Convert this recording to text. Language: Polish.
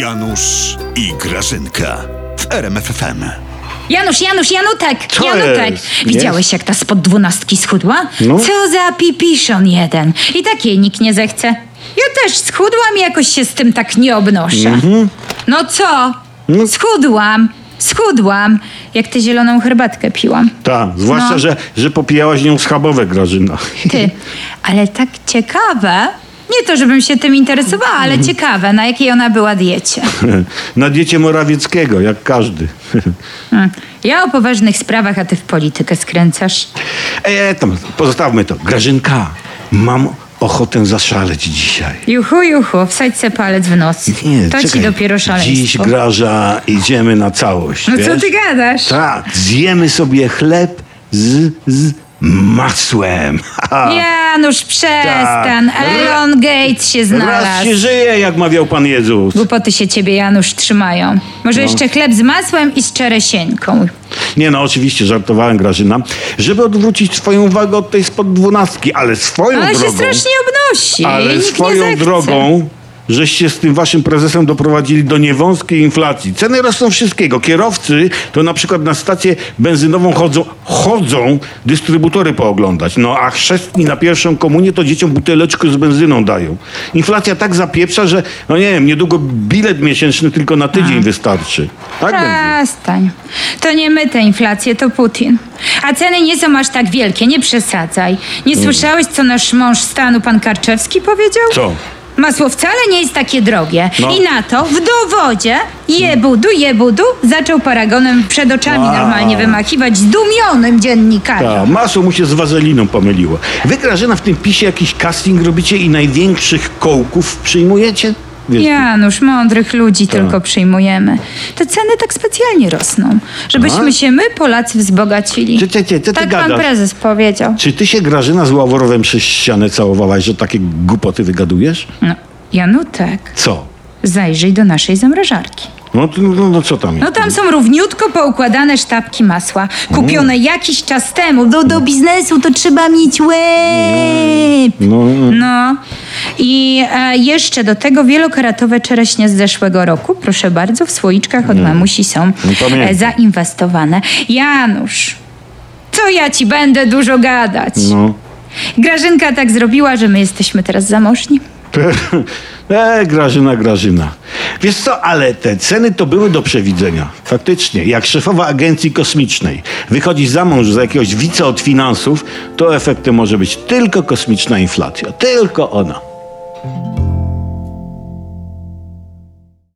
Janusz i Grażynka w RMFFM. Janusz, Janusz, Janutek! Co Janutek! jest? Widziałeś, jak ta spod dwunastki schudła? No. Co za pipiszon jeden. I tak jej nikt nie zechce. Ja też schudłam i jakoś się z tym tak nie obnoszę. Mhm. No co? Schudłam, schudłam. Jak tę zieloną herbatkę piłam. Tak, zwłaszcza, No. że, że popijałaś nią schabowe, Grażyna. Ty, ale tak ciekawe. Nie to, żebym się tym interesowała, ale Mhm. ciekawe, na jakiej ona była diecie. Na diecie Morawieckiego, jak każdy. Hmm. Ja o poważnych sprawach, a ty w politykę skręcasz. E, tam, pozostawmy to. Grażynka, mam ochotę zaszaleć dzisiaj. Juchu, juchu, wsadź se palec w nos. to ci czekaj. dopiero Dziś, szaleństwo. Graża, idziemy na całość. no wiesz? co ty gadasz? Tak, zjemy sobie chleb z, z masłem. Ha. Janusz, przestań. Tak. Elon Gates się Raz znalazł. się żyje, jak mawiał Pan Jezus. Głupoty się ciebie, Janusz, trzymają. No. Może jeszcze chleb z masłem i z czeresieńką. Nie no, oczywiście, żartowałem Grażyna, żeby odwrócić swoją uwagę od tej spod dwunastki, ale swoją Ale się drogą... strasznie obnosi. i ale nikt nie swoją zechce. drogą, żeście z tym waszym prezesem doprowadzili do niewąskiej inflacji. Ceny rosną wszystkiego. Kierowcy to na przykład na stację benzynową chodzą, chodzą dystrybutory pooglądać. No a chrzestni na pierwszą komunię to dzieciom buteleczkę z benzyną dają. Inflacja tak zapieprza, że no nie wiem, niedługo bilet miesięczny tylko na tydzień wystarczy. Tak będzie. Przestań. To nie my tę inflację, to Putin. A ceny nie są aż tak wielkie, nie przesadzaj. Nie Mm. słyszałeś, co nasz mąż stanu, pan Karczewski, powiedział? Co? Masło wcale nie jest takie drogie. No. Mm. I na to w dowodzie jebudu, jebudu zaczął paragonem przed oczami Wow. Tak, normalnie wymachiwać zdumionym Ta, dziennikarzom. masło mu się z wazeliną pomyliło. Wy, Grażyna, w tym pisie jakiś casting robicie i największych kołków przyjmujecie? Wiesz, Janusz, mądrych ludzi Tak. tylko przyjmujemy. Te ceny tak specjalnie rosną, żebyśmy Tak? się my, Polacy, wzbogacili. Ty, ty, ty, ty, ty tak pan gadasz. prezes powiedział. Czy ty się Grażyna z Ławorowem przez ścianę całowałaś, że takie głupoty wygadujesz? No, Janutek, Co? zajrzyj do naszej zamrażarki. No, to- no, no co tam jest? No tam są równiutko poukładane sztabki masła, kupione Mm. jakiś czas temu. Do, do biznesu to trzeba mieć łeb. No, no. No i e, jeszcze do tego wielokaratowe czereśnie z zeszłego roku, proszę bardzo, w słoiczkach od mamusi są Mm. No, pamiętam. e, zainwestowane. Janusz, co ja ci będę dużo gadać? no. Grażynka tak zrobiła, że my jesteśmy teraz zamożni. E, Grażyna, Grażyna. Wiesz co, ale te ceny to były do przewidzenia. Faktycznie, jak szefowa agencji kosmicznej wychodzi za mąż za jakiegoś wice od finansów, to efektem może być tylko kosmiczna inflacja. Tylko ona.